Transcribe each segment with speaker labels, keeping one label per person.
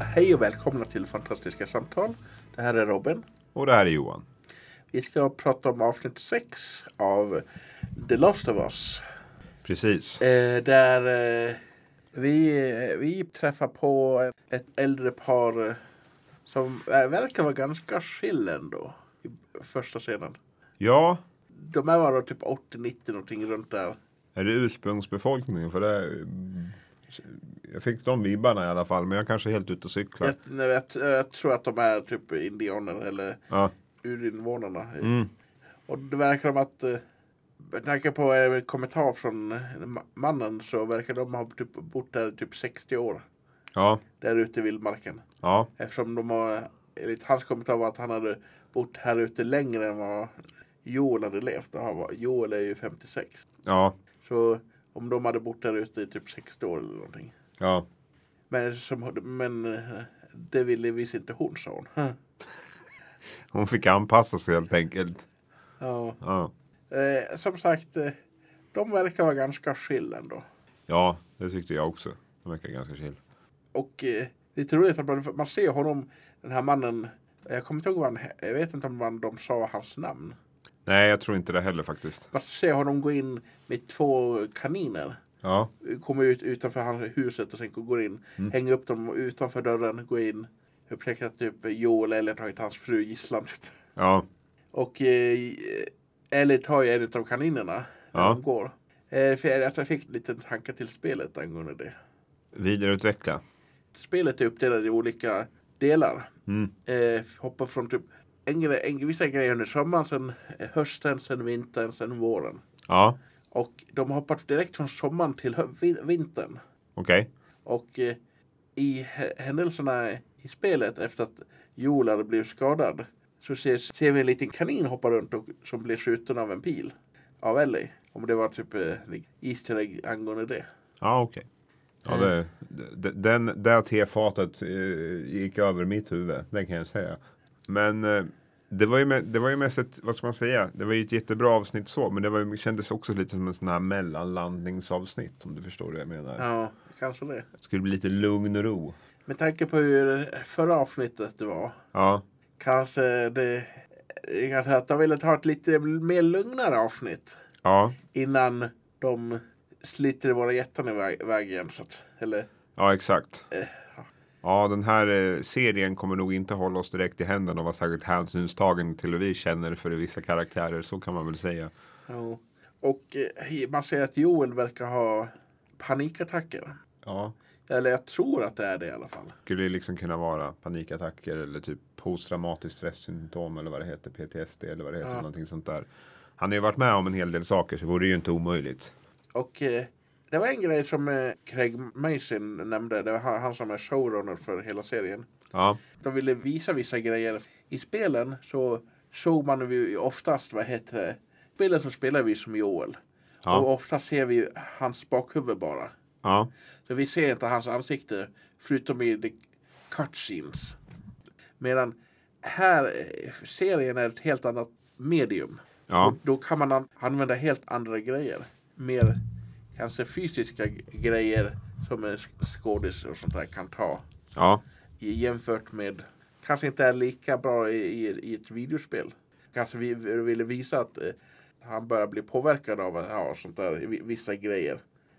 Speaker 1: Hej och välkomna till Fantastiska Samtal. Det här är Robin.
Speaker 2: Och det här är Johan.
Speaker 1: Vi ska prata om avsnitt 6 av The Last of Us.
Speaker 2: Precis.
Speaker 1: Eh, där eh, vi, eh, vi träffar på ett äldre par eh, som eh, verkar vara ganska chill ändå. I första scenen.
Speaker 2: Ja,
Speaker 1: De är bara typ 80-90 någonting runt där.
Speaker 2: är det ursprungsbefolkningen? För det... Jag fick de vibbarna i alla fall, men jag kanske är helt ute och cyklar.
Speaker 1: Jag, nej, jag, jag tror att de är typ indianer eller
Speaker 2: Ja.
Speaker 1: urinvånarna.
Speaker 2: Mm.
Speaker 1: Och det verkar som att eh, med tanke på en kommentar från eh, ma- mannen så verkar de ha typ bott där i typ 60 år.
Speaker 2: ja,
Speaker 1: Där ute i vildmarken.
Speaker 2: ja,
Speaker 1: Eftersom de har, eh, enligt hans kommentar var att han hade bott här ute längre än vad Joel hade levt. Och han var, Joel är ju 56.
Speaker 2: ja,
Speaker 1: Så om de hade bott där ute i typ 60 år eller någonting.
Speaker 2: ja.
Speaker 1: Men, som, men eh, det ville visst inte hon sa hon.
Speaker 2: Hon fick anpassa sig helt enkelt.
Speaker 1: Ja.
Speaker 2: Ja,
Speaker 1: Eh, som sagt, eh, de verkar vara ganska chill ändå.
Speaker 2: ja det tyckte jag också. De verkar ganska chill.
Speaker 1: Och eh, lite roligt att man, man ser honom, den här mannen. Jag kommer inte ihåg vad han, he- jag vet inte om man, de sa hans namn.
Speaker 2: Nej, jag tror inte det heller faktiskt.
Speaker 1: Man ser honom gå in med två kaniner.
Speaker 2: Ja,
Speaker 1: Kommer ut utanför han- huset och sen går in. Hänger upp dem utanför dörren, går in. Upptäcker att typ Joel eller tagit hans fru gisslan. Typ.
Speaker 2: ja,
Speaker 1: Och eh, Elliot har ju en av kaninerna. När
Speaker 2: Ja.
Speaker 1: de går. Eh, för jag, jag fick lite tankar till spelet angående det.
Speaker 2: vidareutveckla.
Speaker 1: Spelet är uppdelat i olika delar.
Speaker 2: Mm.
Speaker 1: eh, hoppa från typ en gre- en, vissa grejer under sommaren, sen eh, hösten, sen vintern, sen våren.
Speaker 2: Ja,
Speaker 1: Och de har hoppat direkt från sommaren till hö- vi- vintern.
Speaker 2: okej.
Speaker 1: Och eh, i hä- händelserna i spelet efter att Joel hade blivit skadad så ser, ser vi en liten kanin hoppa runt och, som blir skjuten av en pil av Ellie. Om det var typ eh, Easter egg angående det.
Speaker 2: Ja, okej. Ja, det, det, den, det tefatet eh, gick över mitt huvud, det kan jag säga. Men eh, det var ju, me- det var ju mest ett, vad ska man säga, det var ju ett jättebra avsnitt så, men det var, ju- kändes också lite som en sån här mellanlandningsavsnitt, om du förstår vad jag menar.
Speaker 1: Ja, kanske det.
Speaker 2: Det skulle bli lite lugn och ro.
Speaker 1: Med tanke på hur förra avsnittet det var
Speaker 2: Ja,
Speaker 1: kanske det det kanske att de ville ta ett lite mer lugnare avsnitt
Speaker 2: ja,
Speaker 1: innan de sliter våra hjärtan iväg iväg igen. Så att, eller,
Speaker 2: ja exakt.
Speaker 1: eh,
Speaker 2: Ja, den här eh, serien kommer nog inte hålla oss direkt i händerna och vara särskilt hänsynstagen till hur vi känner för vissa karaktärer, så kan man väl säga.
Speaker 1: ja. Och eh, man ser att Joel verkar ha panikattacker.
Speaker 2: Ja,
Speaker 1: Eller jag tror att det är det i alla fall.
Speaker 2: skulle liksom kunna vara panikattacker eller typ posttraumatiskt stresssymptom eller vad det heter, PTSD eller vad det heter,
Speaker 1: Ja.
Speaker 2: någonting sånt där. Han har ju varit med om en hel del saker så det vore ju inte omöjligt.
Speaker 1: Och eh, det var en grej som eh, Craig Mason nämnde. Det var han, han som är showrunner för hela serien.
Speaker 2: Ja,
Speaker 1: de ville visa vissa grejer i spelen så såg man ju oftast, vad heter det, spelen så spelar vi som Joel.
Speaker 2: Ja.
Speaker 1: Och ofta ser vi hans bakhuvud bara.
Speaker 2: ja,
Speaker 1: Så vi ser inte hans ansikte förutom i the cutscenes. Medan här, eh, serien är ett helt annat medium.
Speaker 2: ja,
Speaker 1: Och då kan man an- använda helt andra grejer. Mer kanske fysiska g- grejer som en sk- skådis och sånt där kan ta
Speaker 2: ja,
Speaker 1: i- jämfört med kanske inte är lika bra i, i, i ett videospel. Kanske vi vi ville visa att eh, han börjar bli påverkad av ja, sånt där, vi- vissa grejer.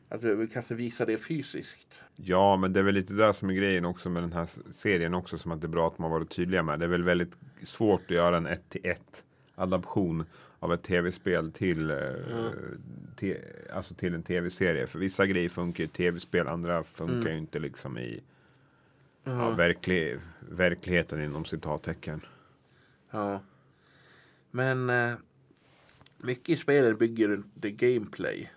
Speaker 1: Att vi vi kanske visar det fysiskt.
Speaker 2: ja, men det är väl lite där som är grejen också med den här s- serien också som att det är bra att man varit tydliga med. Det är väl väldigt svårt att göra en ett till ett adaption av ett tv-spel till, eh, te, alltså till en tv-serie. För vissa grejer funkar ju i tv-spel, andra funkar
Speaker 1: Mm.
Speaker 2: ju inte liksom i Ja, verklig, verkligheten inom citattecken.
Speaker 1: Ja. Men eh, mycket i spelet bygger runt the gameplay.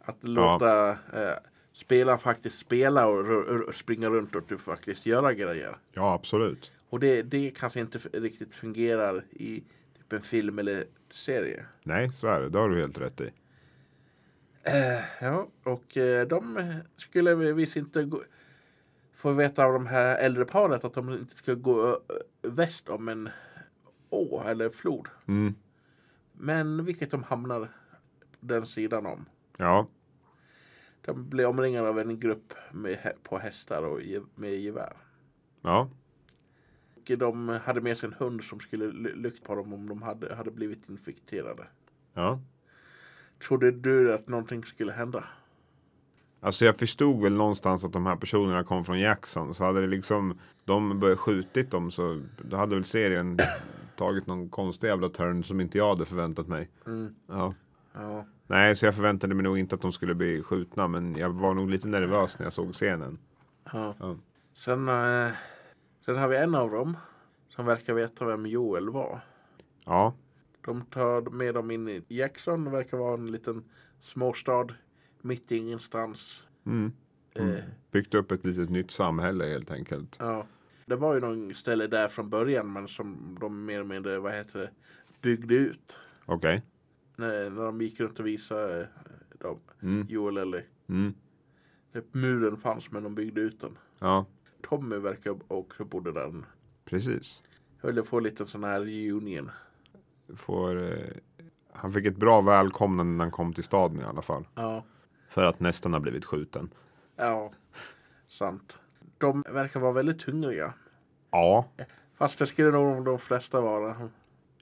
Speaker 1: Att låta eh, spelaren faktiskt spela och ru- ru- springa runt och typ faktiskt göra grejer.
Speaker 2: Ja, absolut.
Speaker 1: Och det, det kanske inte f- riktigt fungerar i typ en film eller serie.
Speaker 2: Nej, så är det. Det har du helt rätt i.
Speaker 1: Ja, och eh, de skulle vi visst inte gå, få veta av de här äldre paret att de inte ska gå eh, väst om en å eller flod.
Speaker 2: Mm.
Speaker 1: Men vilket de hamnar den sidan om.
Speaker 2: Ja,
Speaker 1: De blir omringade av en grupp med, hä- på hästar och ge- med gevär.
Speaker 2: Ja.
Speaker 1: Och de hade med sig en hund som skulle lu- lukta på dem om de hade, hade blivit infekterade.
Speaker 2: Ja.
Speaker 1: Trodde du att någonting skulle hända?
Speaker 2: Alltså jag förstod väl någonstans att de här personerna kom från Jackson. Så hade det liksom de börjat skjutit dem så då hade väl serien tagit någon konstig jävla turn som inte jag hade förväntat mig.
Speaker 1: Mm.
Speaker 2: Ja.
Speaker 1: Ja.
Speaker 2: Nej, så jag förväntade mig nog inte att de skulle bli skjutna. Men jag var nog lite nervös när jag såg scenen.
Speaker 1: ja.
Speaker 2: Ja.
Speaker 1: Sen, eh, sen har vi en av dem som verkar veta vem Joel var.
Speaker 2: Ja,
Speaker 1: De tar med dem in i Jackson. Det verkar vara en liten småstad mitt i ingenstans.
Speaker 2: mm.
Speaker 1: Eh,
Speaker 2: byggt upp ett litet nytt samhälle helt enkelt.
Speaker 1: Ja. Det var ju någon ställe där från början men som de mer eller mindre, vad heter det, byggde ut.
Speaker 2: Okej.
Speaker 1: När, när de gick runt och visade eh, dem,
Speaker 2: Mm.
Speaker 1: Joel eller
Speaker 2: Mm.
Speaker 1: det- muren fanns men de byggde ut den.
Speaker 2: Ja,
Speaker 1: Tommy verkar också bodde där.
Speaker 2: precis.
Speaker 1: Jag ville få lite sån här reunion.
Speaker 2: Får, eh, han fick ett bra välkomnande när han kom till staden i alla fall.
Speaker 1: Ja,
Speaker 2: För att nästan har blivit skjuten.
Speaker 1: ja, sant. De verkar vara väldigt hungriga.
Speaker 2: Ja,
Speaker 1: Fast det skulle nog de flesta vara.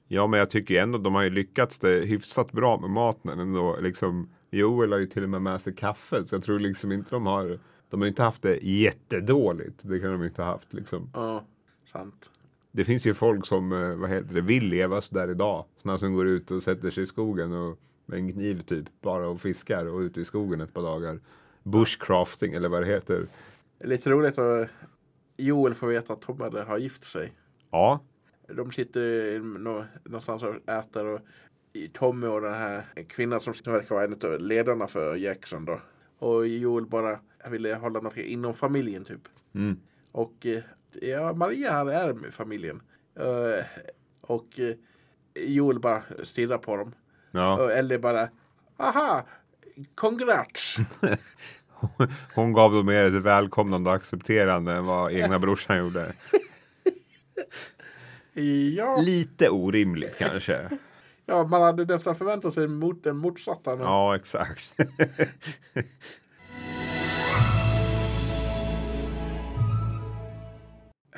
Speaker 2: Ja, men jag tycker ju ändå de har ju lyckats det hyfsat bra med maten ändå. Liksom, Joel har ju till och med med sig kaffet, så jag tror liksom inte de har. De har ju inte haft det jättedåligt. Det kan de ju inte ha haft liksom.
Speaker 1: Ja, sant.
Speaker 2: Det finns ju folk som, eh, vad heter det, vill leva så där idag. Sådana som går ut och sätter sig i skogen och med en kniv typ bara och fiskar och ute i skogen ett par dagar. Bushcrafting eller vad det heter.
Speaker 1: Det är Lite roligt att Joel får veta att Tommy hade- har gift sig.
Speaker 2: Ja,
Speaker 1: De sitter i nå- någonstans och äter och Tommy och den här kvinnan som verkar vara en av ledarna för Jackson då. Och Joel bara ville hålla något inom familjen typ.
Speaker 2: mm.
Speaker 1: Och eh, ja, Maria här är med familjen. Eh, Och eh, Joel bara stirrar på dem.
Speaker 2: ja.
Speaker 1: Och Ellie bara, aha, congrats.
Speaker 2: Hon gav dem mer ett välkomnande och accepterande än vad egna brorsan gjorde.
Speaker 1: ja,
Speaker 2: Lite orimligt kanske.
Speaker 1: ja, man hade nästan förväntat sig mot den motsatta. men-
Speaker 2: Ja, exakt.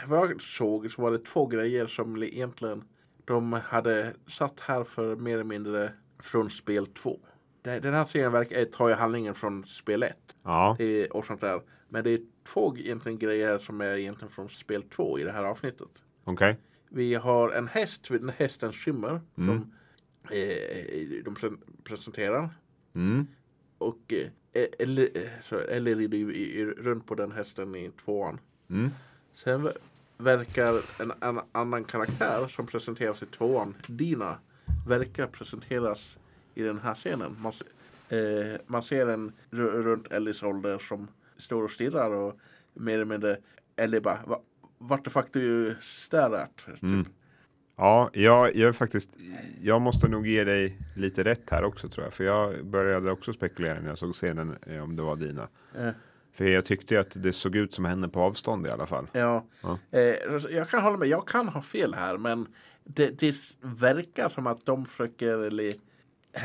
Speaker 1: Vad jag såg så var det två grejer som egentligen de hade satt här för mer eller mindre från spel 2. Den här serien verkar eh, tar ju handlingen från spel 1
Speaker 2: ja,
Speaker 1: och sånt där. Men det är två egentligen grejer som är egentligen från spel 2 i det här avsnittet.
Speaker 2: okej.
Speaker 1: Vi har en häst, vid den hästens skimmer,
Speaker 2: Mm.
Speaker 1: som eh, de sen presenterar.
Speaker 2: Mm.
Speaker 1: Och eh, Ellie, eh, så Ellie rider ju i- i- runt på den hästen i tvåan.
Speaker 2: Mm.
Speaker 1: Sen ver- verkar en, en annan karaktär som presenteras i tvåan, Dina, verkar presenteras i den här scenen. Man, se- eh, man ser en r- runt Ellies ålder som står och stirrar och mer eller mindre Ellie bara "Va- What the fuck do you stare at? Typ.
Speaker 2: mm. Ja, jag, jag är faktiskt. Jag måste nog ge dig lite rätt här också tror jag, för jag började också spekulera när jag såg scenen eh, om det var dina.
Speaker 1: Eh,
Speaker 2: För jag tyckte ju att det såg ut som henne på avstånd i alla fall.
Speaker 1: ja.
Speaker 2: Ja.
Speaker 1: Eh, alltså, jag kan hålla med, jag kan ha fel här men det, det s- verkar som att de försöker eller, eh,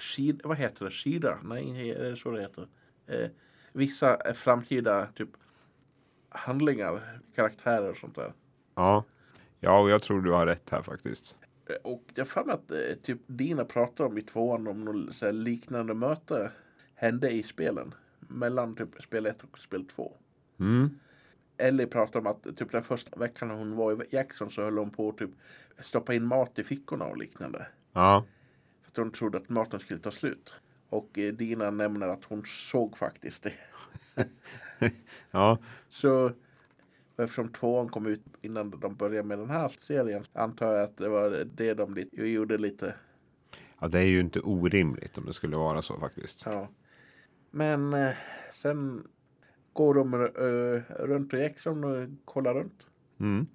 Speaker 1: sid, vad heter det, sida, nej är det så det heter. Eh, vissa eh, framtida typ handlingar, karaktärer och sånt där.
Speaker 2: Ja, ja, och jag tror du har rätt här faktiskt.
Speaker 1: Eh, Och jag har för mig att eh, typ Dina pratade om i tvåan om något så här liknande möte hände i spelen. Mellan typ spel 1 och spel 2.
Speaker 2: Mm.
Speaker 1: Ellie pratade om att typ den första veckan hon var i Jackson så höll hon på att typ stoppa in mat i fickorna och liknande.
Speaker 2: Ja,
Speaker 1: För att hon trodde att maten skulle ta slut. Och eh, Dina nämner att hon såg faktiskt det.
Speaker 2: ja,
Speaker 1: Så eftersom tvåan kom ut innan de började med den här serien antar jag att det var det de li- gjorde lite.
Speaker 2: ja, det är ju inte orimligt om det skulle vara så faktiskt.
Speaker 1: Ja. Men eh, sen går de eh, runt i Jackson och kollar runt.
Speaker 2: Mm.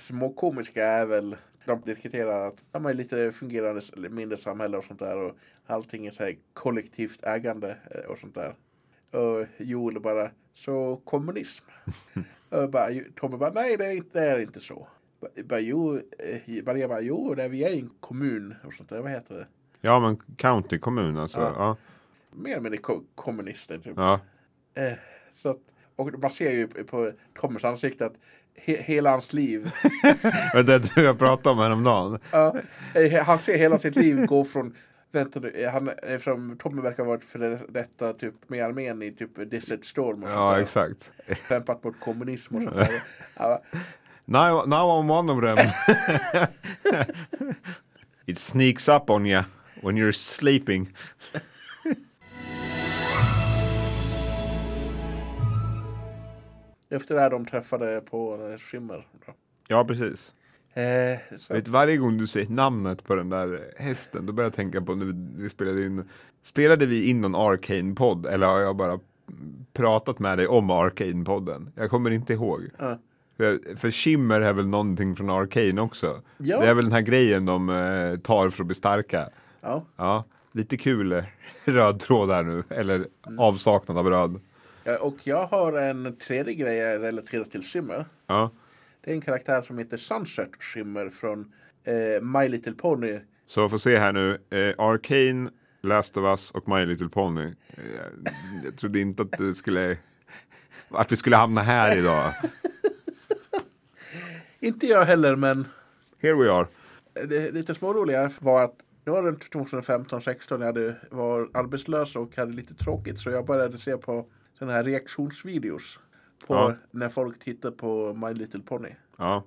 Speaker 1: småkomiska är väl de diskuterar att de är lite fungerande s- eller mindre samhälle och sånt där och allting är så här kollektivt ägande eh, och sånt där. Och Joel bara, så kommunism? och bara, ju- Tommy bara, nej det är inte, det är inte så. Ba- Bara, jo, eh, Maria bara, jo, det är, vi är ju en kommun och sånt där, vad heter det?
Speaker 2: Ja, men county kommun alltså.
Speaker 1: Ja.
Speaker 2: Ja,
Speaker 1: Mer eller mindre ko- kommunister typ.
Speaker 2: ja,
Speaker 1: Eh, så att, och man ser ju på Tommys ansikte att he, hela hans liv.
Speaker 2: Var det det jag pratade om häromdagen?
Speaker 1: Ja, eh, han ser hela sitt liv gå från Vänta nu, eh, han, eh, från, Tommy verkar ha varit före detta typ, med armén i typ Desert Storm och sånt
Speaker 2: Ja,
Speaker 1: där.
Speaker 2: exakt.
Speaker 1: Kämpat mot kommunism och sånt där. Ja,
Speaker 2: Now, now I'm one of them. It sneaks up on you when you're sleeping.
Speaker 1: efter det här de träffade på eh, Schimmer. Då.
Speaker 2: Ja, precis.
Speaker 1: Eh, så,
Speaker 2: Vet, varje gång du säger namnet på den där hästen, då börjar jag tänka på när vi- vi spelade in. Spelade vi in någon Arcane-podd eller har jag bara pratat med dig om Arcane-podden? Jag kommer inte ihåg.
Speaker 1: Ja.
Speaker 2: För, för Shimmer är väl någonting från Arcane också?
Speaker 1: Ja.
Speaker 2: Det är väl den här grejen de eh, tar för att bli starka?
Speaker 1: ja.
Speaker 2: Ja, lite kul eh, röd tråd här nu, eller
Speaker 1: Mm.
Speaker 2: avsaknad av röd.
Speaker 1: Ja, Eh, Och jag har en tredje grej relaterad till Schimmer.
Speaker 2: Ja.
Speaker 1: Det är en karaktär som heter Sunset Shimmer från eh, My Little Pony.
Speaker 2: Så jag får se här nu, eh, Arcane, Last of Us och My Little Pony. Eh, jag trodde inte att det skulle, att vi skulle hamna här idag.
Speaker 1: Inte jag heller, men
Speaker 2: Here we are.
Speaker 1: det lite småroliga var att det var runt 2015-16 jag hade, var arbetslös och hade lite tråkigt så jag började se på sådana här reaktionsvideos på
Speaker 2: Ja.
Speaker 1: när folk tittar på My Little Pony.
Speaker 2: Ja,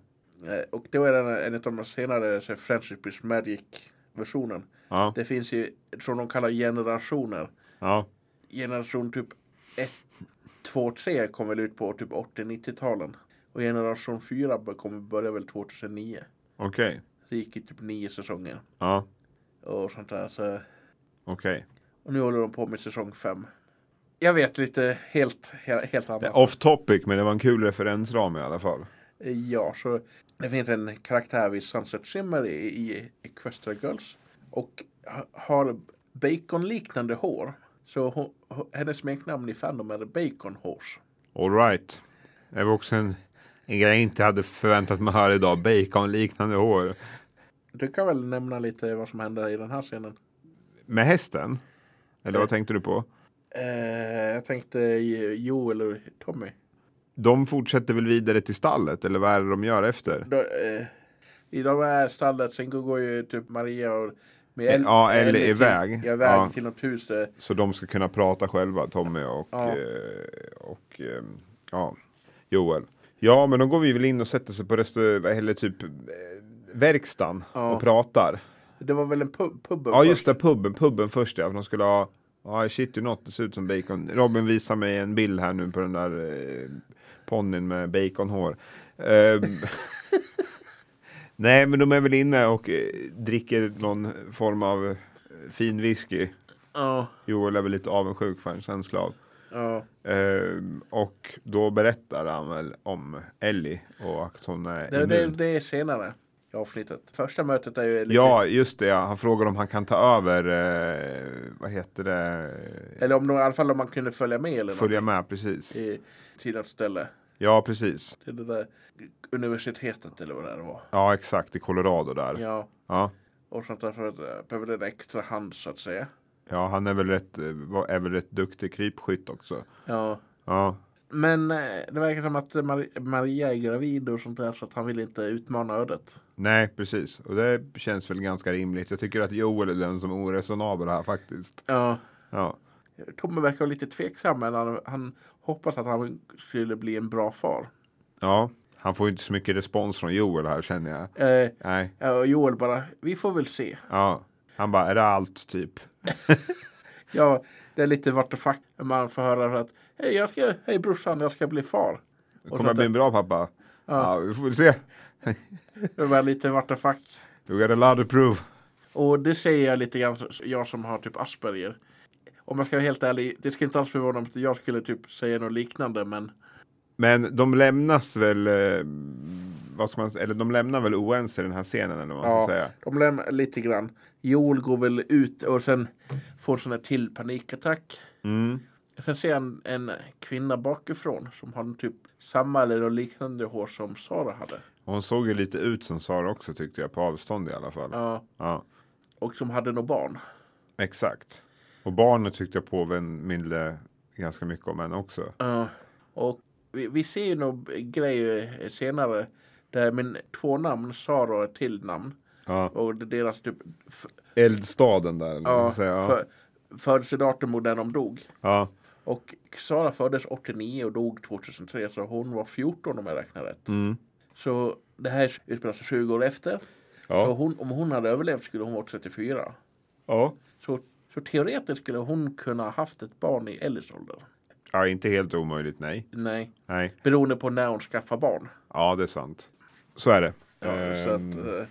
Speaker 1: Eh, Och då är det en av de senare så här, Friendship is Magic-versionen.
Speaker 2: ja,
Speaker 1: Det finns ju, som de kallar generationer.
Speaker 2: ja,
Speaker 1: generation typ 1, 2, 3 kom väl ut på typ 80-90-talen. Och generation 4 bör- kom, började väl 2009.
Speaker 2: okej.
Speaker 1: Det gick ju typ nio säsonger
Speaker 2: Ja,
Speaker 1: och sånt där. Så.
Speaker 2: okej.
Speaker 1: Och nu håller de på med säsong 5. Jag vet lite helt, he- helt annat.
Speaker 2: Det är Off topic, men det var en kul referensram i alla fall.
Speaker 1: Ja, så det finns en karaktär vid Sunset Shimmer i, i Equestria Girls. Och ha- har baconliknande hår. Så hon, hon- hennes smeknamn i Fandom är Bacon Horse.
Speaker 2: All right. Det var också en, en grej jag inte hade förväntat mig höra idag, baconliknande hår.
Speaker 1: Du kan väl nämna lite vad som händer i den här scenen?
Speaker 2: Med hästen? Eller
Speaker 1: Mm.
Speaker 2: vad tänkte du på?
Speaker 1: Eh, jag tänkte eh, Joel och Tommy.
Speaker 2: De fortsätter väl vidare till stallet eller vad är det de gör efter?
Speaker 1: Då, eh, I de här stallet, sen går ju typ Maria och med
Speaker 2: Eh, ja, Ellie
Speaker 1: till-
Speaker 2: iväg.
Speaker 1: ja, iväg
Speaker 2: Ja.
Speaker 1: till något hus. Där.
Speaker 2: Så de ska kunna prata själva, Tommy och,
Speaker 1: Ja.
Speaker 2: eh, och eh, ja, Joel. Ja, men de går vi väl in och sätter sig på restaur- eller typ eh, verkstaden
Speaker 1: Ja.
Speaker 2: och pratar.
Speaker 1: Det var väl en pub, puben
Speaker 2: Ja,
Speaker 1: först.
Speaker 2: just det, puben, puben först ja, för de skulle ha Ja, shit you not, det ser ut som bacon. Robin visar mig en bild här nu på den där eh, ponnyn med baconhår. Ehm, Nej, men de är väl inne och eh, dricker någon form av eh, fin whisky.
Speaker 1: Ja,
Speaker 2: Joel är väl lite avundsjuk för en känsla av.
Speaker 1: ja,
Speaker 2: Ehm, och då berättar han väl om Ellie och att hon är
Speaker 1: det, det,
Speaker 2: immun.
Speaker 1: det är senare i avsnittet. Första mötet är ju lite,
Speaker 2: Ja, just det. Ja. Han frågar om han kan ta över, eh, vad heter det?
Speaker 1: eller om de, i alla fall om man kunde följa med eller något
Speaker 2: Följa med, precis.
Speaker 1: i, till något ställe.
Speaker 2: Ja, precis.
Speaker 1: Till det där universitetet eller vad det där var.
Speaker 2: Ja, exakt. I Colorado där.
Speaker 1: Ja,
Speaker 2: Ja.
Speaker 1: och sånt där för att eh, behöver en extra hand så att säga.
Speaker 2: Ja, han är väl rätt, eh, var- är väl rätt duktig krypskytt också.
Speaker 1: Ja.
Speaker 2: Ja,
Speaker 1: Men eh, det verkar som att eh, Mar- Maria är gravid och sånt där så att han vill inte utmana ödet.
Speaker 2: nej, precis. Och det känns väl ganska rimligt. Jag tycker att Joel är den som är oresonabel här faktiskt.
Speaker 1: Ja.
Speaker 2: Ja,
Speaker 1: Tommy verkar vara lite tveksam men han, han hoppas att han skulle bli en bra far.
Speaker 2: ja. Han får ju inte så mycket respons från Joel här känner jag.
Speaker 1: Eh,
Speaker 2: Nej,
Speaker 1: ja, och Joel bara, vi får väl se.
Speaker 2: ja. Han bara, är det allt typ?
Speaker 1: Ja, det är lite vart och fuck man får höra att hej, jag ska, hej brorsan, jag ska bli far. Och
Speaker 2: Kommer jag
Speaker 1: sånt
Speaker 2: bli
Speaker 1: där.
Speaker 2: en bra pappa?
Speaker 1: Ja.
Speaker 2: Ja, vi får väl se.
Speaker 1: Det var lite vart och fuck.
Speaker 2: You got a lot to prove.
Speaker 1: Och det säger jag lite grann, så- jag som har typ Asperger. Om jag ska vara helt ärlig, det ska inte alls förvåna mig att jag skulle typ säga något liknande men
Speaker 2: Men de lämnas väl, eh, vad ska man säga, eller de lämnar väl oense i den här scenen eller vad man
Speaker 1: Ja.
Speaker 2: ska säga.
Speaker 1: De lämnar lite grann. Joel går väl ut och sen får sån här till panikattack.
Speaker 2: Mm.
Speaker 1: Sen ser han en kvinna bakifrån som har typ samma eller något liknande hår som Sara hade.
Speaker 2: Och Hon såg ju lite ut som Sara också tyckte jag, på avstånd i alla fall. Ja,
Speaker 1: Ja, och som hade något barn.
Speaker 2: exakt. Och barnet tyckte jag påminde ganska mycket om henne också.
Speaker 1: Ja. Och Vi, vi ser ju nog grejer senare där min två namn, Sara och ett till namn
Speaker 2: Ja.
Speaker 1: och deras typ f-
Speaker 2: Eldstaden där. eller vad man
Speaker 1: ja,
Speaker 2: ska säga. Ja.
Speaker 1: för, födelsedatum och när de dog.
Speaker 2: ja.
Speaker 1: Och Sara föddes 89 och dog 2003 så hon var 14 om jag räknar rätt.
Speaker 2: Mm.
Speaker 1: Så det här utspelar sig 20 år efter. Så
Speaker 2: Ja.
Speaker 1: hon, om hon hade överlevt skulle hon varit 34.
Speaker 2: Ja.
Speaker 1: Så, så teoretiskt skulle hon kunna ha haft ett barn i Ellis ålder.
Speaker 2: ja, inte helt omöjligt. Nej.
Speaker 1: Nej,
Speaker 2: nej.
Speaker 1: beroende på när hon skaffar barn.
Speaker 2: Ja, det är sant. Så är det.
Speaker 1: Ja, så
Speaker 2: Ehm,
Speaker 1: att, eh,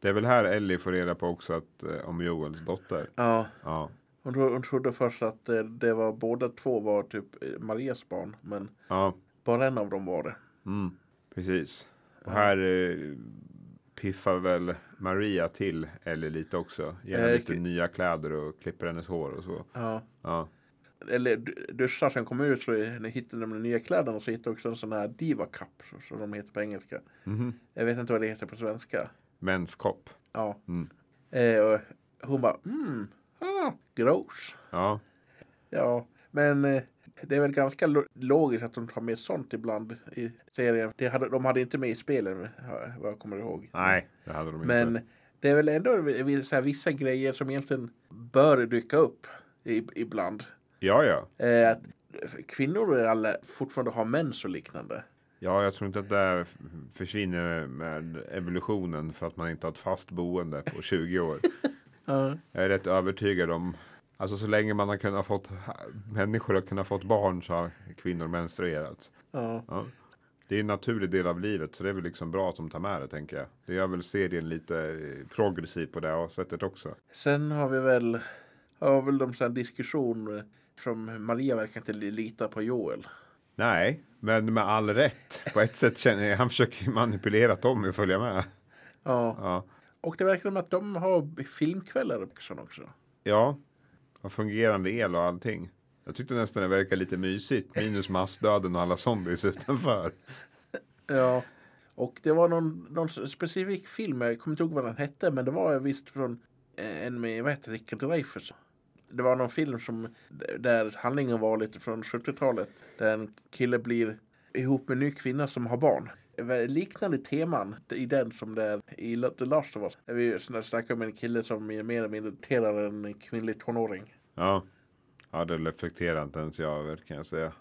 Speaker 2: Det är väl här Ellie får reda på också att, eh, om Joels dotter.
Speaker 1: ja,
Speaker 2: Ja.
Speaker 1: hon, tro- hon trodde först att eh, det var båda två var typ eh, Marias barn. Men
Speaker 2: ja.
Speaker 1: bara en av dem var det.
Speaker 2: Mm. Precis. Och här eh, piffar väl Maria till Ellie lite också. Ger henne
Speaker 1: Eh,
Speaker 2: lite
Speaker 1: k-
Speaker 2: nya kläder och klipper hennes hår och så.
Speaker 1: Ja.
Speaker 2: Ja.
Speaker 1: Eller du- duschar sen kom ut så hittade de nya kläderna och så hittade också en sån här diva cup så- som de heter på engelska.
Speaker 2: Mhm.
Speaker 1: Jag vet inte vad det heter på svenska.
Speaker 2: Menskopp.
Speaker 1: Ja.
Speaker 2: Mm.
Speaker 1: Eh, och hon bara mm, ah, gross.
Speaker 2: Ja.
Speaker 1: Ja, men eh, det är väl ganska lo- logiskt att de tar med sånt ibland i serien. Det hade, de hade inte med i spelen, eh, vad jag kommer ihåg.
Speaker 2: Nej, Mm. det hade de inte.
Speaker 1: Men det är väl ändå vi- vi- så här, vissa grejer som egentligen bör dyka upp i, ibland.
Speaker 2: Ja, ja.
Speaker 1: Eh, att kvinnor är alla, fortfarande har mens och liknande.
Speaker 2: Ja, jag tror inte att det här f- försvinner med evolutionen för att man inte har ett fast boende på 20 år.
Speaker 1: Ja.
Speaker 2: Jag är rätt övertygad om. Alltså så länge man har kunnat fått människor har kunnat fått barn så har kvinnor menstruerat.
Speaker 1: Ja.
Speaker 2: Ja. Det är en naturlig del av livet så det är väl liksom bra att de tar med det tänker jag. Det gör väl serien lite eh, progressiv på det här sättet också.
Speaker 1: Sen har vi väl, har väl de så här diskussion eh, som Maria verkar inte li- lita på Joel.
Speaker 2: Nej, men med all rätt. På ett sätt känner jag han försöker ju manipulera Tommy att följa med.
Speaker 1: Ja.
Speaker 2: Ja,
Speaker 1: Och det verkar som att de har filmkvällar också. också.
Speaker 2: ja. Och fungerande el och allting. Jag tyckte nästan det verkar lite mysigt. Minus massdöden och alla zombies utanför.
Speaker 1: Ja. Och det var någon, någon specifik film, jag kommer inte ihåg vad den hette, men det var visst från eh, en med, vad heter det, Richard Dreyfuss. Det var någon film som, där handlingen var lite från 70-talet, där en kille blir ihop med en ny kvinna som har barn. Det var Liknande teman i den som det är i La- The Last of Us. Där vi sn- snackar om en kille som är mer eller mindre irriterar en kvinnlig tonåring.
Speaker 2: Ja. ja, det reflekterar inte ens jag över kan jag säga.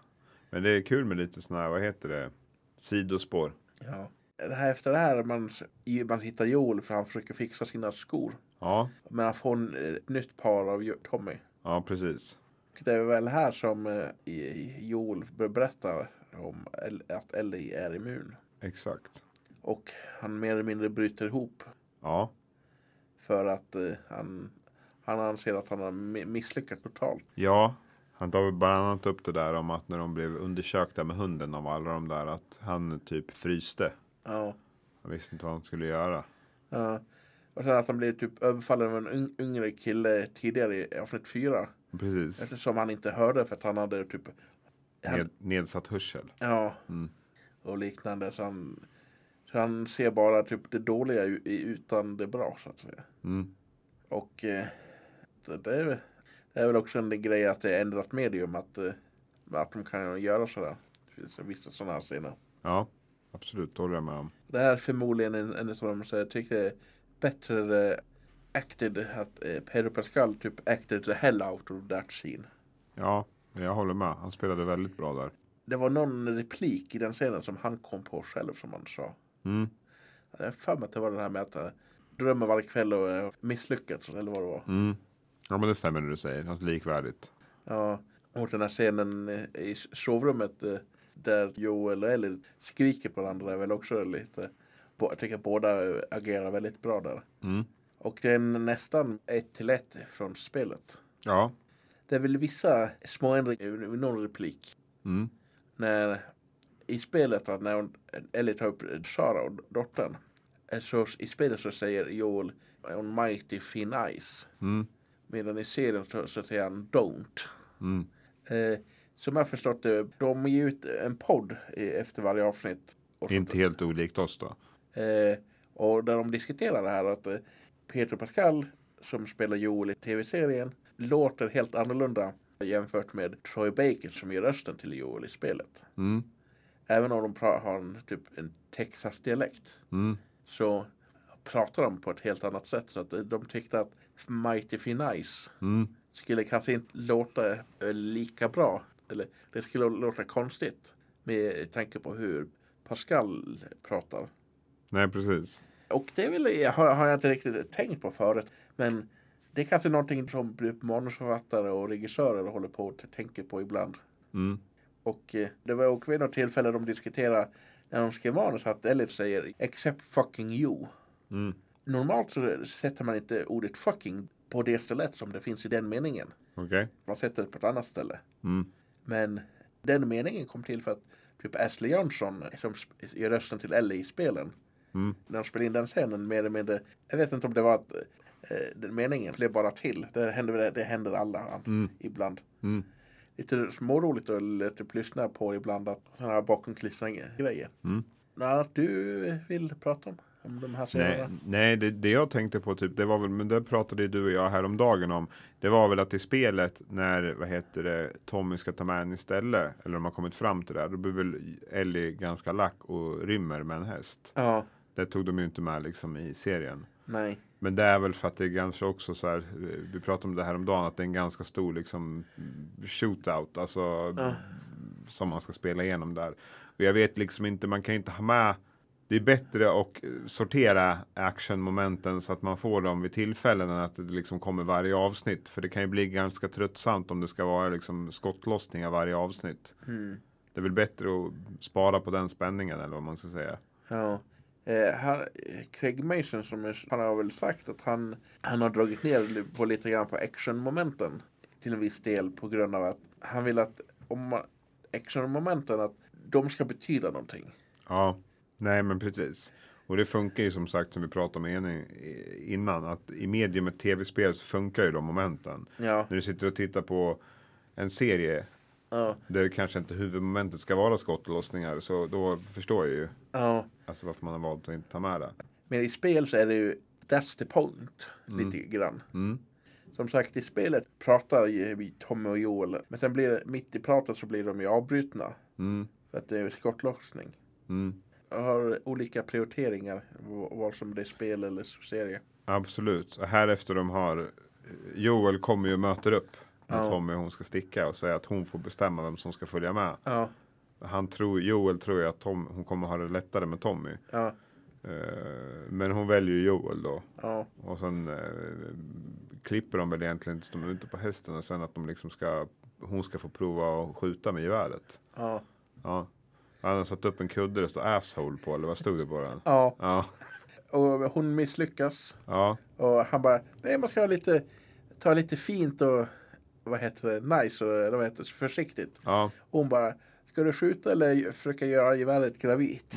Speaker 2: Men det är kul med lite sådana här, vad heter det? Sidospår.
Speaker 1: Ja. Det här, efter det här man, s- i- man hittar Joel för han försöker fixa sina skor.
Speaker 2: Ja,
Speaker 1: Men han får en, eh, ett nytt par av Jo- Tommy.
Speaker 2: ja precis.
Speaker 1: Och det är väl här som eh, i- i- Joel berättar om El- att Ellie är immun.
Speaker 2: Exakt.
Speaker 1: Och han mer eller mindre bryter ihop
Speaker 2: Ja,
Speaker 1: för att eh, han, han anser att han har mi- misslyckats totalt.
Speaker 2: ja. Han tar väl bland annat upp det där om att när de blev undersökta med hunden av alla de där att han typ fryste.
Speaker 1: Ja.
Speaker 2: Han visste inte vad han skulle göra.
Speaker 1: ja. Och sen att han blev typ överfallen av en un- yngre kille tidigare i avsnitt fyra.
Speaker 2: Precis.
Speaker 1: Eftersom han inte hörde för att han hade typ... Han,
Speaker 2: Ned, nedsatt hörsel.
Speaker 1: ja.
Speaker 2: Mm.
Speaker 1: Och liknande. Så han, så han ser bara typ det dåliga i- i- utan det bra så att säga.
Speaker 2: Mm.
Speaker 1: Och eh, det, det, är, väl- det är väl också en grej att det är ändrat medium att, eh, att de kan göra sådär. Det finns Vissa sådana här scener.
Speaker 2: Ja, absolut. Det håller jag med om.
Speaker 1: Det här är förmodligen en, en av de så jag tyckte bättre eh, acted att eh, Pedro Pascal typ acted the hell out of that scene.
Speaker 2: Ja, jag håller med. Han spelade väldigt bra där.
Speaker 1: Det var någon replik i den scenen som han kom på själv som han sa.
Speaker 2: Mm.
Speaker 1: Jag har för mig att det var den här med att eh, drömmer varje kväll och eh, misslyckats eller vad det var.
Speaker 2: Mm. Ja, men det stämmer det du säger. Något likvärdigt.
Speaker 1: Ja, och den här scenen eh, i sovrummet eh, där Joel och Ellie skriker på varandra är väl också lite... bo- Jag tycker båda eh, agerar väldigt bra där.
Speaker 2: Mm.
Speaker 1: Och det är nästan ett till ett från spelet.
Speaker 2: Ja.
Speaker 1: Det är väl vissa små ändringar i någon replik.
Speaker 2: Mm.
Speaker 1: När, I spelet, då, när hon, Ellie tar upp Sara och dottern. eh, Så i spelet så säger Joel On mighty thin ice.
Speaker 2: Mm.
Speaker 1: Medan i serien så, så säger han Don't.
Speaker 2: Mm.
Speaker 1: Eh, som jag förstått det, de ger ut en podd eh, efter varje avsnitt. Och,
Speaker 2: Inte helt olikt oss då.
Speaker 1: eh, och där de diskuterar det här att eh, Peter Pascal, som spelar Joel i tv-serien, låter helt annorlunda jämfört med Troy Baker som gör rösten till Joel i spelet.
Speaker 2: Mm.
Speaker 1: Även om de pra- har en, typ en Texas-dialekt
Speaker 2: Mm.
Speaker 1: så pratar de på ett helt annat sätt. Så att eh, de tyckte att Mighty Fine Ice
Speaker 2: Mm.
Speaker 1: skulle kanske inte låta eh, lika bra. Eller det skulle låta konstigt med tanke på hur Pascal pratar.
Speaker 2: Nej, precis.
Speaker 1: Och det är väl, har, har jag inte riktigt tänkt på förut. Men det är kanske någonting som typ manusförfattare och regissörer håller på och t- tänker på ibland.
Speaker 2: Mm.
Speaker 1: Och eh, det var också vid något tillfälle de diskuterade när de skrev manus att Elliot säger “except fucking you”.
Speaker 2: Mm.
Speaker 1: Normalt så sätter man inte ordet “fucking” på det stället som det finns i den meningen.
Speaker 2: Okej.
Speaker 1: Man sätter det på ett annat ställe.
Speaker 2: Mm.
Speaker 1: Men den meningen kom till för att typ Ashley Johnson som sp- gör rösten till Ellie i spelen.
Speaker 2: Mm.
Speaker 1: När de spelade in den scenen mer eller mindre. Jag vet inte om det var att eh, den meningen blev bara till. Det händer, det händer alla an-
Speaker 2: Mm.
Speaker 1: ibland.
Speaker 2: Mm.
Speaker 1: Lite småroligt att l- typ lyssna på ibland att sådana här bakom kulisserna grejer.
Speaker 2: Mm.
Speaker 1: Något annat du vill prata om? Om de här
Speaker 2: Nej,
Speaker 1: scenerna?
Speaker 2: nej det, det jag tänkte på, typ, det var väl, men det pratade ju du och jag häromdagen om. Det var väl att i spelet när, vad heter det, Tommy ska ta med en istället, eller de har kommit fram till det, här, då blir väl Ellie ganska lack och rymmer med en häst.
Speaker 1: Ja,
Speaker 2: Det tog de ju inte med liksom i serien.
Speaker 1: nej.
Speaker 2: Men det är väl för att det är kanske också så här, vi pratade om det här om dagen, att det är en ganska stor liksom shootout, alltså som man ska spela igenom där. Och jag vet liksom inte, man kan inte ha med, det är bättre att eh, sortera actionmomenten så att man får dem vid tillfällen än att det liksom kommer varje avsnitt. För det kan ju bli ganska tröttsamt om det ska vara liksom skottlossningar varje avsnitt.
Speaker 1: Mm.
Speaker 2: Det är väl bättre att spara på den spänningen eller vad man ska säga.
Speaker 1: Ja. Eh, här, eh, Craig Mason som är, han har väl sagt att han, han har dragit ner li- på lite grann på actionmomenten till en viss del på grund av att han vill att om man, actionmomenten att de ska betyda någonting.
Speaker 2: Ja, nej men precis. Och det funkar ju som sagt som vi pratade om en- innan att i mediumet tv-spel så funkar ju de momenten.
Speaker 1: Ja,
Speaker 2: När du sitter och tittar på en serie
Speaker 1: ja,
Speaker 2: där kanske inte huvudmomentet ska vara skottlossningar så då förstår jag ju
Speaker 1: ja.
Speaker 2: alltså varför man har valt att inte ta med det.
Speaker 1: Men i spel så är det ju that's the point lite grann.
Speaker 2: Mm.
Speaker 1: Som sagt i spelet pratar ju vi Tommy och Joel men sen blir det, mitt i pratet så blir de ju avbrutna
Speaker 2: Mm.
Speaker 1: för att det är skottlossning.
Speaker 2: Mm.
Speaker 1: Jag har olika prioriteringar v- vad som det är spel eller serie.
Speaker 2: Absolut. Och här efter de har Joel kommer ju och möter upp när
Speaker 1: Ja.
Speaker 2: Tommy och hon ska sticka och säga att hon får bestämma vem som ska följa med.
Speaker 1: Ja,
Speaker 2: Han tror, Joel tror ju att Tom, hon kommer ha det lättare med Tommy.
Speaker 1: ja,
Speaker 2: Eh, Men hon väljer ju Joel då.
Speaker 1: ja,
Speaker 2: Och sen eh, klipper de väl egentligen tills de är ute på hästen och sen att de liksom ska, hon ska få prova att skjuta med geväret.
Speaker 1: ja,
Speaker 2: Ja. Han har satt upp en kudde det står asshole på eller vad stod det på den?
Speaker 1: ja.
Speaker 2: Ja,
Speaker 1: Och hon misslyckas.
Speaker 2: ja,
Speaker 1: Och han bara, nej man ska ha lite, ta lite fint och vad heter det, nice och eller vad heter det, försiktigt.
Speaker 2: ja.
Speaker 1: Hon bara, ska du skjuta eller försöka göra geväret gravitt?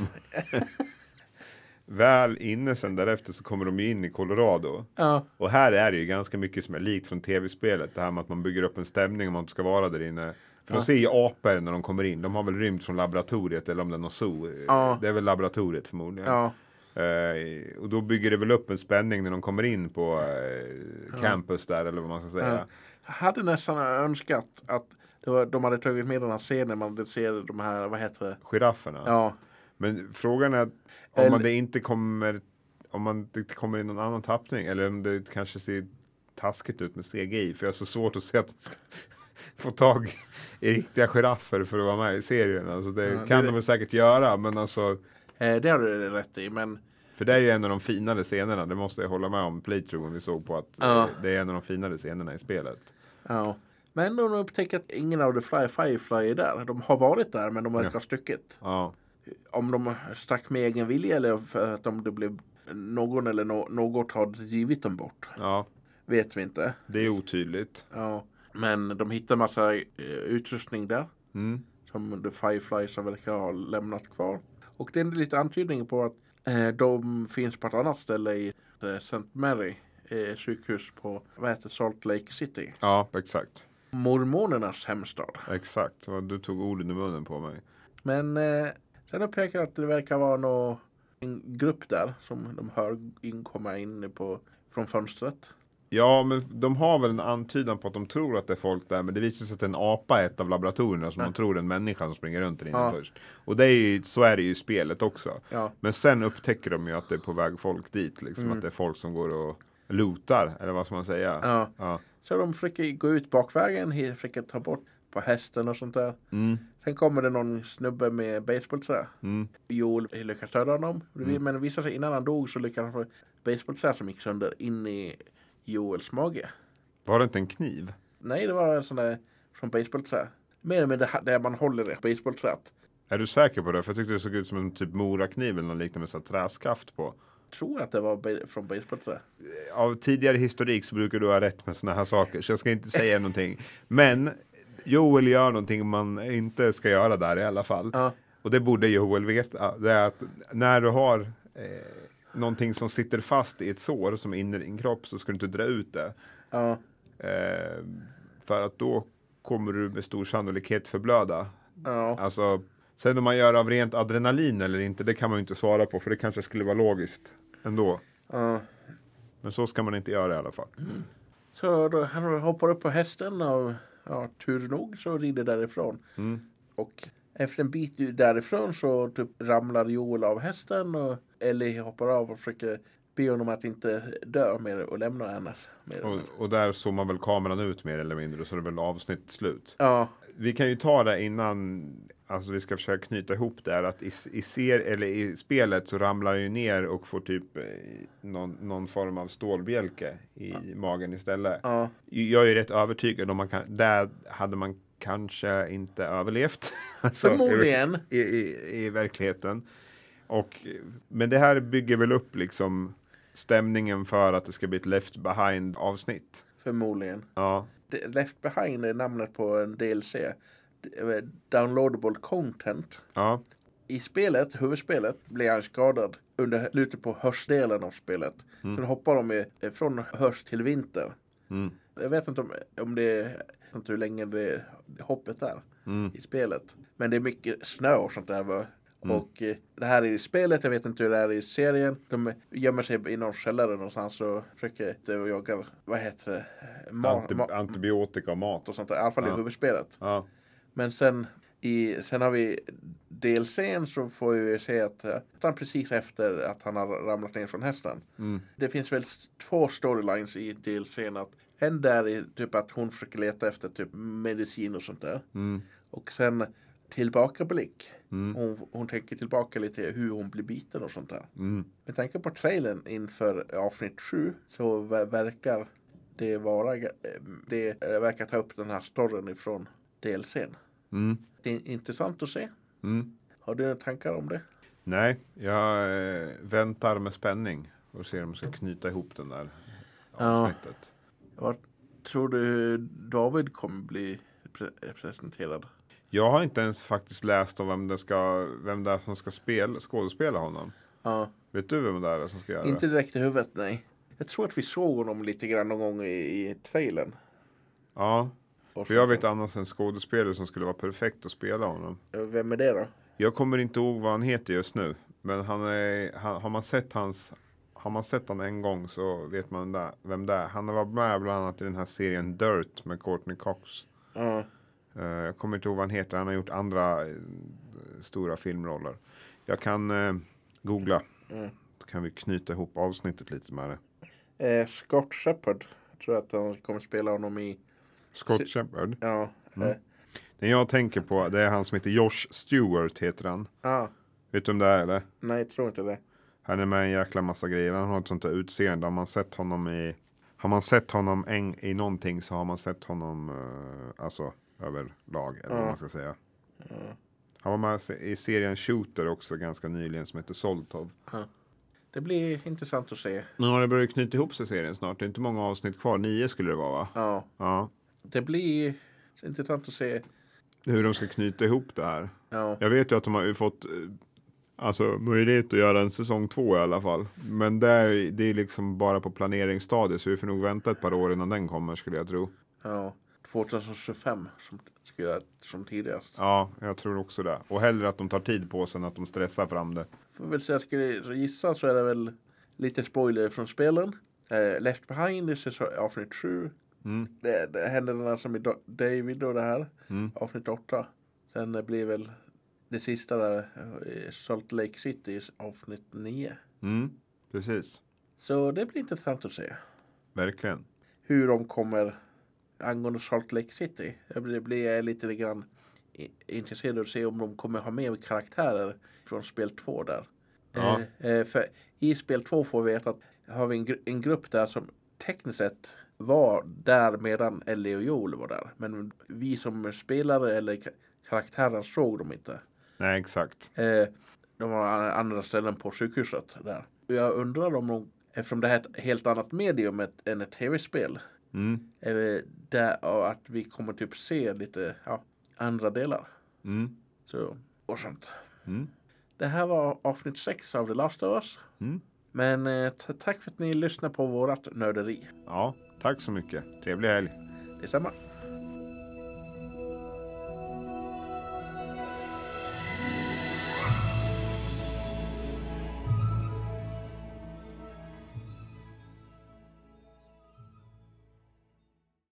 Speaker 2: Väl inne sen därefter så kommer de ju in i Colorado.
Speaker 1: Ja,
Speaker 2: Och här är det ju ganska mycket som är likt från tv-spelet. Det här med att man bygger upp en stämning om man inte ska vara där inne. För
Speaker 1: Ja.
Speaker 2: de ser ju apor när de kommer in. De har väl rymt från laboratoriet eller om det är någon zoo.
Speaker 1: Ja.
Speaker 2: Det är väl laboratoriet förmodligen.
Speaker 1: ja,
Speaker 2: Eh, och då bygger det väl upp en spänning när de kommer in på eh, campus där eller vad man ska
Speaker 1: ja.
Speaker 2: säga.
Speaker 1: Jag hade nästan önskat att det var, de hade tagit med den här scenen man ser de här, vad heter det?
Speaker 2: Girafferna.
Speaker 1: Ja,
Speaker 2: Men frågan är om
Speaker 1: Eller-
Speaker 2: man det inte kommer om man det inte kommer i någon annan tappning eller om det kanske ser taskigt ut med CGI. För jag har så svårt att se att de ska få tag i riktiga giraffer för att vara med i serien. Alltså det
Speaker 1: Ja,
Speaker 2: kan
Speaker 1: det-
Speaker 2: de väl säkert göra men alltså
Speaker 1: eh, det har du rätt i, men
Speaker 2: för det är ju en av de finare scenerna, det måste jag hålla med om, playthroughen vi såg på att eh,
Speaker 1: Ja.
Speaker 2: det är en av de finare scenerna i spelet.
Speaker 1: ja. Men de upptäcker att ingen av The Fly Firefly är där. De har varit där, men de verkar ha stuckit.
Speaker 2: Ja,
Speaker 1: om de stack med egen vilja eller för att om det blev någon eller nå- något har drivit dem bort.
Speaker 2: ja,
Speaker 1: Vet vi inte.
Speaker 2: det är otydligt.
Speaker 1: Ja. Men de hittar massa eh, utrustning där
Speaker 2: Mm.
Speaker 1: som The Fireflies verkar ha lämnat kvar. Och det är lite antydning på att eh, de finns på ett annat ställe i eh, St. Mary eh, sjukhus på vad heter Salt Lake City.
Speaker 2: Ja, exakt.
Speaker 1: Mormonernas hemstad.
Speaker 2: Exakt. Vad Du tog orden ur munnen på mig.
Speaker 1: Men eh, sen upptäcker jag att det verkar vara nå en grupp där som de hör in komma in på, från fönstret.
Speaker 2: Ja, men de har väl en antydan på att de tror att det är folk där, men det visar sig att en apa är ett av laboratorierna som de tror är en människa som springer runt där inne
Speaker 1: Ja.
Speaker 2: först. Och det är ju, så är det ju i spelet också.
Speaker 1: Ja.
Speaker 2: Men sen upptäcker de ju att det är på väg folk dit, liksom att det är folk som går och lootar, eller vad ska man säga?
Speaker 1: Mm. Ja.
Speaker 2: Ja.
Speaker 1: Så de försöker gå ut bakvägen, he- försöker ta bort på hästen och sånt där.
Speaker 2: Mm.
Speaker 1: Sen kommer det någon snubbe med basebollträ.
Speaker 2: Mm.
Speaker 1: Joel lyckas döda honom. Men det visar sig innan han dog så lyckas han få basebollträ som gick sönder in i Joels mage.
Speaker 2: Var det inte en kniv?
Speaker 1: Nej, det var en sån där från basebollträ. Mer eller mindre där man håller ett basebollträet.
Speaker 2: Är du säker på det? För jag tyckte det såg ut som en typ morakniv eller något liknande med så här träskaft på.
Speaker 1: Tror att det var ba- från basebollträ.
Speaker 2: av tidigare historik så brukar du ha rätt med sådana här saker, så jag ska inte säga någonting. Men Joel gör någonting man inte ska göra där i alla fall.
Speaker 1: Ja.
Speaker 2: Och det borde Joel veta. Det är att när du har eh, någonting som sitter fast i ett sår som är inne i din kropp så ska du inte dra ut det.
Speaker 1: Ja,
Speaker 2: Eh, för att då kommer du med stor sannolikhet förblöda.
Speaker 1: ja,
Speaker 2: Alltså, sen om man gör av rent adrenalin eller inte, det kan man ju inte svara på, för det kanske skulle vara logiskt ändå.
Speaker 1: ja.
Speaker 2: Men så ska man inte göra i alla fall.
Speaker 1: Så då, han hoppar upp på hästen och ja, tur nog så rider därifrån. Och efter en bit ju därifrån så typ ramlar Joel av hästen och Ellie hoppar av och försöker be honom att inte dö mer och lämna henne. Mer.
Speaker 2: Och, och där zoomar väl kameran ut mer eller mindre så det är väl avsnitt slut.
Speaker 1: Ja,
Speaker 2: Vi kan ju ta det innan, alltså vi ska försöka knyta ihop det här att i, i, ser, eller i spelet så ramlar han ju ner och får typ eh, någon, någon form av stålbjälke i magen istället.
Speaker 1: ja,
Speaker 2: Jag är ju rätt övertygad om man kan, där hade man kanske inte överlevt. Alltså,
Speaker 1: förmodligen.
Speaker 2: i, i, i verkligheten. Och, men det här bygger väl upp liksom stämningen för att det ska bli ett left behind avsnitt.
Speaker 1: Förmodligen.
Speaker 2: Ja,
Speaker 1: Det- Left behind är namnet på en DLC. Det är Downloadable content.
Speaker 2: ja.
Speaker 1: I spelet, huvudspelet, blir han skadad under slutet på höstdelen av spelet. Sen hoppar de ju från höst till vinter.
Speaker 2: Mm.
Speaker 1: Jag vet inte om, om det är inte hur länge det hoppet är
Speaker 2: mm.
Speaker 1: i spelet. Men det är mycket snö och sånt där. va?
Speaker 2: Mm.
Speaker 1: Och eh, det här är i spelet, jag vet inte hur det är i serien. De gömmer sig i någon källare någonstans och försöker eh, jaga, vad heter det, Ma-
Speaker 2: Anti,
Speaker 1: ma-
Speaker 2: antibiotika och mat.
Speaker 1: och sånt där. I alla fall i
Speaker 2: Ja.
Speaker 1: huvudspelet.
Speaker 2: Ja.
Speaker 1: Men sen, i, sen har vi DLCn så får vi se att eh, han precis efter att han har ramlat ner från hästen.
Speaker 2: mm,
Speaker 1: Det finns väl s- två storylines i DLCn. Att en där är typ att hon försöker leta efter typ medicin och sånt där.
Speaker 2: mm,
Speaker 1: Och sen tillbakablick. Hon, hon tänker tillbaka lite hur hon blir biten och sånt där.
Speaker 2: mm,
Speaker 1: Med tanke på trailern inför avsnitt 7 så ver- verkar det vara eh, det eh, verkar ta upp den här storyn ifrån DLCn.
Speaker 2: Mm.
Speaker 1: Det är intressant att se.
Speaker 2: Mm.
Speaker 1: Har du några tankar om det?
Speaker 2: Nej, jag eh, väntar med spänning och ser om jag ska knyta ihop den där
Speaker 1: Ja.
Speaker 2: avsnittet.
Speaker 1: Vad tror du David kommer bli pre- presenterad?
Speaker 2: Jag har inte ens faktiskt läst om vem det, ska, vem det är som ska spela, skådespela honom.
Speaker 1: Ja,
Speaker 2: Vet du vem det är som ska göra
Speaker 1: inte
Speaker 2: det?
Speaker 1: direkt i huvudet, nej. Jag tror att vi såg honom lite grann någon gång i, i trailern.
Speaker 2: Ja,
Speaker 1: Och
Speaker 2: för jag vet annars en skådespelare som skulle vara perfekt att spela honom.
Speaker 1: Vem är det då?
Speaker 2: Jag kommer inte ihåg vad han heter just nu. Men han är, han, har, man sett hans, har man sett han en gång så vet man vem det är- vem det är. Han har varit med bland annat i den här serien Dirt med Courtney Cox.
Speaker 1: Ja,
Speaker 2: Eh, jag kommer inte ihåg vad han heter. Han har gjort andra eh, stora filmroller. Jag kan eh, googla.
Speaker 1: Mm.
Speaker 2: Då kan vi knyta ihop avsnittet lite med det.
Speaker 1: eh, Scott Shepard. Jag tror att han kommer spela honom i...
Speaker 2: Scott
Speaker 1: Se-
Speaker 2: Shepard.
Speaker 1: Ja, eh,
Speaker 2: Den jag tänker på det är han som heter Josh Stewart heter han.
Speaker 1: ah,
Speaker 2: Vet du vem det är eller?
Speaker 1: nej, jag tror inte det.
Speaker 2: Han är med i en jäkla massa grejer. Han har ett sånt där utseende. Har man sett honom i, har man sett honom en, i någonting så har man sett honom eh, alltså, överlag. Eller vad
Speaker 1: Ja.
Speaker 2: man ska säga. Han var med se- i serien Shooter också ganska nyligen som heter Soltov.
Speaker 1: Det blir intressant att se.
Speaker 2: Ja, det börjar knyta ihop sig serien snart. Det är inte många avsnitt kvar. Nio skulle det vara va?
Speaker 1: Ja,
Speaker 2: Ja.
Speaker 1: det blir intressant att se.
Speaker 2: Hur de ska knyta ihop det här.
Speaker 1: Ja,
Speaker 2: Jag vet ju att de har ju fått eh, alltså, möjlighet att göra en säsong två i alla fall. Men det är, det är liksom bara på planeringsstadiet så vi får nog vänta ett par år innan den kommer skulle jag tro.
Speaker 1: ja. 2025 som, skulle jag- som tidigast.
Speaker 2: Ja, jag tror också det. Och hellre att de tar tid på sig än att de stressar fram det.
Speaker 1: Får väl säga, skulle jag gissa så är det väl lite spoiler från spelen. Eh, Left Behind i säsong, avsnitt 7.
Speaker 2: Mm.
Speaker 1: Det, det hände den här som i Da- David och det här.
Speaker 2: Mm.
Speaker 1: Avsnitt 8. Sen eh, blir väl det sista där eh, i Salt Lake City i avsnitt 9.
Speaker 2: Mm. Precis,
Speaker 1: Så det blir intressant att se.
Speaker 2: verkligen.
Speaker 1: Hur de kommer angående Salt Lake City. Jag blir, blir jag lite grann i- intresserad av att se om de kommer ha med karaktärer från spel 2 där.
Speaker 2: Ja.
Speaker 1: Eh, eh, för i spel 2 får vi veta att har vi en, gr- en grupp där som tekniskt sett var där medan Ellie och Joel var där. Men vi som spelare eller ka- karaktären såg dem inte.
Speaker 2: Nej, exakt.
Speaker 1: Eh, de har an- andra ställen på sjukhuset där. Och Jag undrar om de, eftersom det här är ett helt annat medium ett- än ett tv-spel,
Speaker 2: Mm.
Speaker 1: eh, där, ja, att vi kommer typ se lite ja, andra delar.
Speaker 2: Mm.
Speaker 1: Så, och sånt.
Speaker 2: Mm.
Speaker 1: Det här var avsnitt 6 av The Last of Us.
Speaker 2: Mm.
Speaker 1: Men eh, t- tack för att ni lyssnar på vårat nörderi.
Speaker 2: Ja, tack så mycket. Trevlig helg.
Speaker 1: Detsamma.